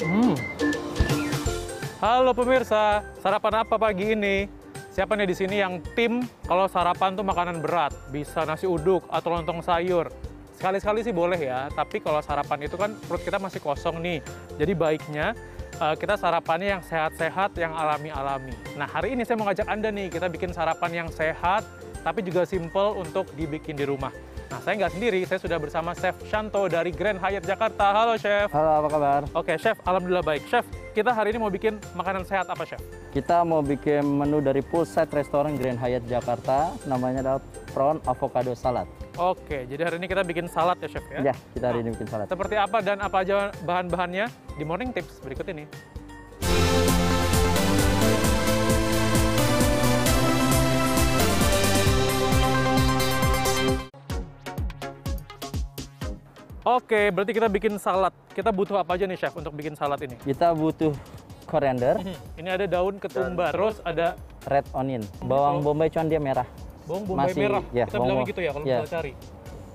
Hmm. Halo pemirsa, sarapan apa pagi ini? Siapa nih di sini yang tim kalau sarapan tuh makanan berat, bisa nasi uduk atau lontong sayur. Sekali-sekali sih boleh ya, tapi kalau sarapan itu kan perut kita masih kosong nih. Jadi baiknya eh, kita sarapannya yang sehat-sehat, yang alami-alami. Nah, hari ini saya mau ngajak Anda nih, kita bikin sarapan yang sehat, tapi juga simple untuk dibikin di rumah. Nah, saya nggak sendiri, saya sudah bersama Chef Shanto dari Grand Hyatt Jakarta. Halo, Chef. Halo, apa kabar? Oke, Chef, alhamdulillah baik. Chef, kita hari ini mau bikin makanan sehat apa, Chef? Kita mau bikin menu dari Poolside Restoran Grand Hyatt Jakarta. Namanya adalah prawn avocado salad. Oke, jadi hari ini kita bikin salad ya, Chef ya? Ya, kita hari ini bikin salad. Seperti apa dan apa aja bahan-bahannya di Morning Tips berikut ini. Oke, berarti kita bikin salad. Kita butuh apa aja nih, Chef, untuk bikin salad ini? Kita butuh koriander, Hmm, Ini ada daun ketumbar, terus ada red onion, bawang bombay cuman dia merah, bawang bombay Masih, merah. ya, kita bawang bilangnya bombay. gitu ya kalau Ya. kita cari.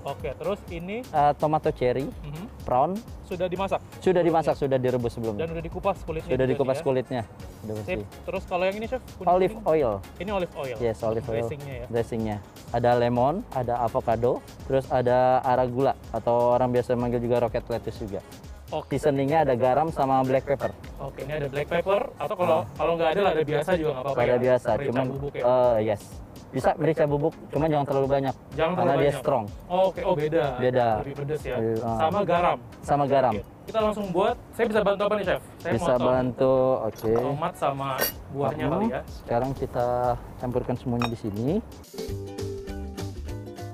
Oke, terus ini eh, tomato cherry, mhm, prawn. sudah dimasak Sudah dimasak, sudah direbus dan sebelumnya. udah dikupas kulitnya. Hmm. Sudah juga dikupas sih ya. kulitnya. Udah Sip. bersih. Terus kalau yang ini chef kuning Olive kuning. oil. Ini olive oil. Yes, olive oil. Dressingnya ya. Dressingnya. Ada lemon, ada avocado, terus ada arugula atau orang biasa manggil juga rocket lettuce juga. Oke. Seasoningnya ada garam sama black pepper. Oke, ini ada black pepper atau kalau kalau nggak ada lada biasa juga nggak apa-apa. pada ya. Ah. biasa Merica cuman bubuk ya. eh, yes bisa merica bubuk cuman jangan terlalu banyak Jangan karena terlalu dia banyak. strong Oke, oh beda. Beda. Lebih pedes ya. Lebih, ah. Sama garam. sama garam Oke, Kita langsung buat. Saya bisa bantu apa nih chef? Saya bisa motong bantu oke tomat sama buahnya Kamu, kali ya. sekarang kita campurkan semuanya di sini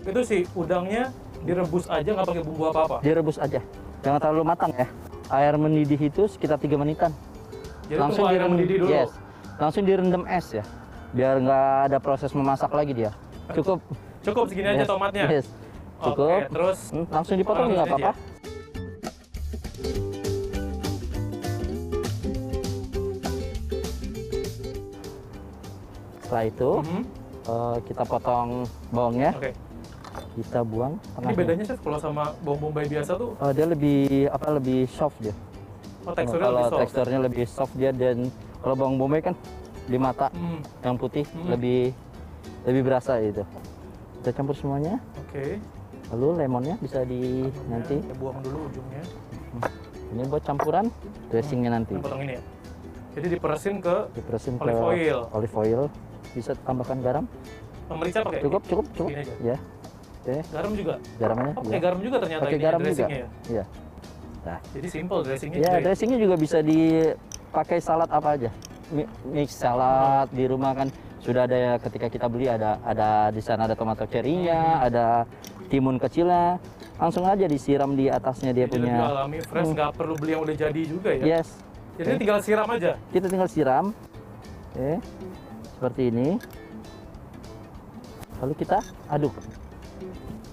Itu sih udangnya direbus aja nggak pakai bumbu apa-apa. direbus aja jangan terlalu matang ya air mendidih itu sekitar 3 menitan Jadi langsung airnya direndam- mendidih dulu. yes langsung direndam es ya biar nggak ada proses memasak lagi dia cukup Cukup segini aja Yes, tomatnya. yes. cukup Oke, terus Hmm, langsung dipotong Langsung nggak aja. apa-apa setelah itu Mhm. eh, kita potong bawangnya Oke. kita buang Ini tengahnya. bedanya chef kalau sama bawang bombay biasa tuh Eh, dia lebih apa lebih soft dia oh, teksturnya kalau lebih soft. teksturnya lebih soft dia dan kalau bawang bombay kan di mata Hmm, yang putih Hmm. lebih lebih berasa itu kita campur semuanya Oke. lalu lemonnya bisa di nanti Kita buang dulu ujungnya. ini buat campuran dressingnya nanti Kita potong ini ya. Jadi diperesin ke diperesin ke olive oil. olive oil bisa tambahkan garam Merica pakai. cukup cukup cukup Gini aja. ya oke Garam juga. garamnya Oh, ya. pakai garam juga ternyata pakai ini garam juga dressingnya ya. ya nah Jadi simple dressingnya. ya juga ya. dressingnya juga bisa dipakai salad apa aja Mi- mix salad di rumah kan sudah ada ya ketika kita beli ada ada di sana ada tomato Hmm. cherry-nya ada timun kecilnya langsung aja disiram di atasnya dia Jadi lebih punya alami, fresh, Hmm. Iya. nggak perlu beli yang udah jadi juga ya. yes Jadi tinggal siram aja. kita tinggal siram oke seperti ini lalu kita aduk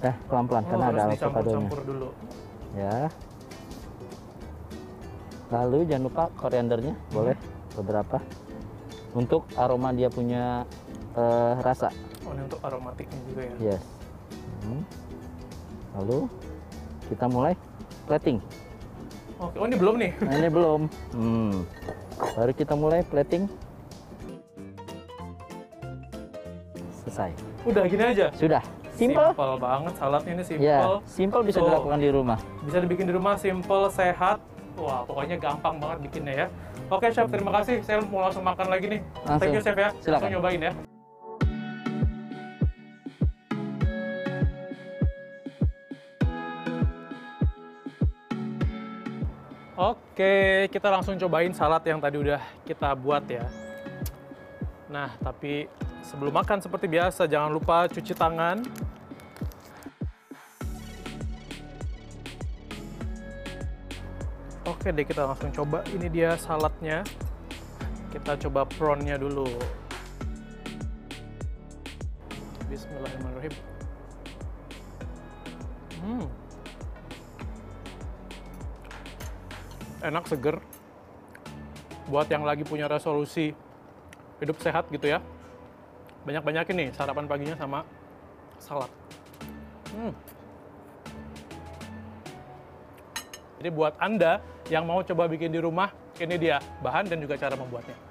eh pelan-pelan Oh, karena ada terus alat padahalnya dicampur-campur dulu. ya lalu jangan lupa koriandernya Hmm. boleh beberapa untuk aroma dia punya eh, rasa Oh, ini untuk aromatiknya juga ya. yes Hmm. lalu kita mulai plating Oke, oh ini belum nih. Nah, ini belum. Hmm. Baru kita mulai plating. Selesai. Udah gini aja. Sudah. Simple. Simple banget saladnya ini simple. Ya, simple bisa Tuh. dilakukan di rumah. bisa dibikin di rumah simple sehat wah pokoknya gampang banget bikinnya ya oke chef terima kasih saya mau langsung makan lagi nih thank Langsung. you chef ya Silakan. langsung nyobain ya Oke, kita langsung cobain salad yang tadi udah kita buat ya. Nah, tapi sebelum makan seperti biasa jangan lupa cuci tangan Oke deh kita langsung coba. Ini dia saladnya. Kita coba prawnnya dulu. Bismillahirrahmanirrahim. Hmm. Enak seger. Buat yang lagi punya resolusi hidup sehat gitu ya. Banyak-banyakin nih sarapan paginya sama salad. Hmm. Jadi buat Anda yang mau coba bikin di rumah, ini dia bahan dan juga cara membuatnya.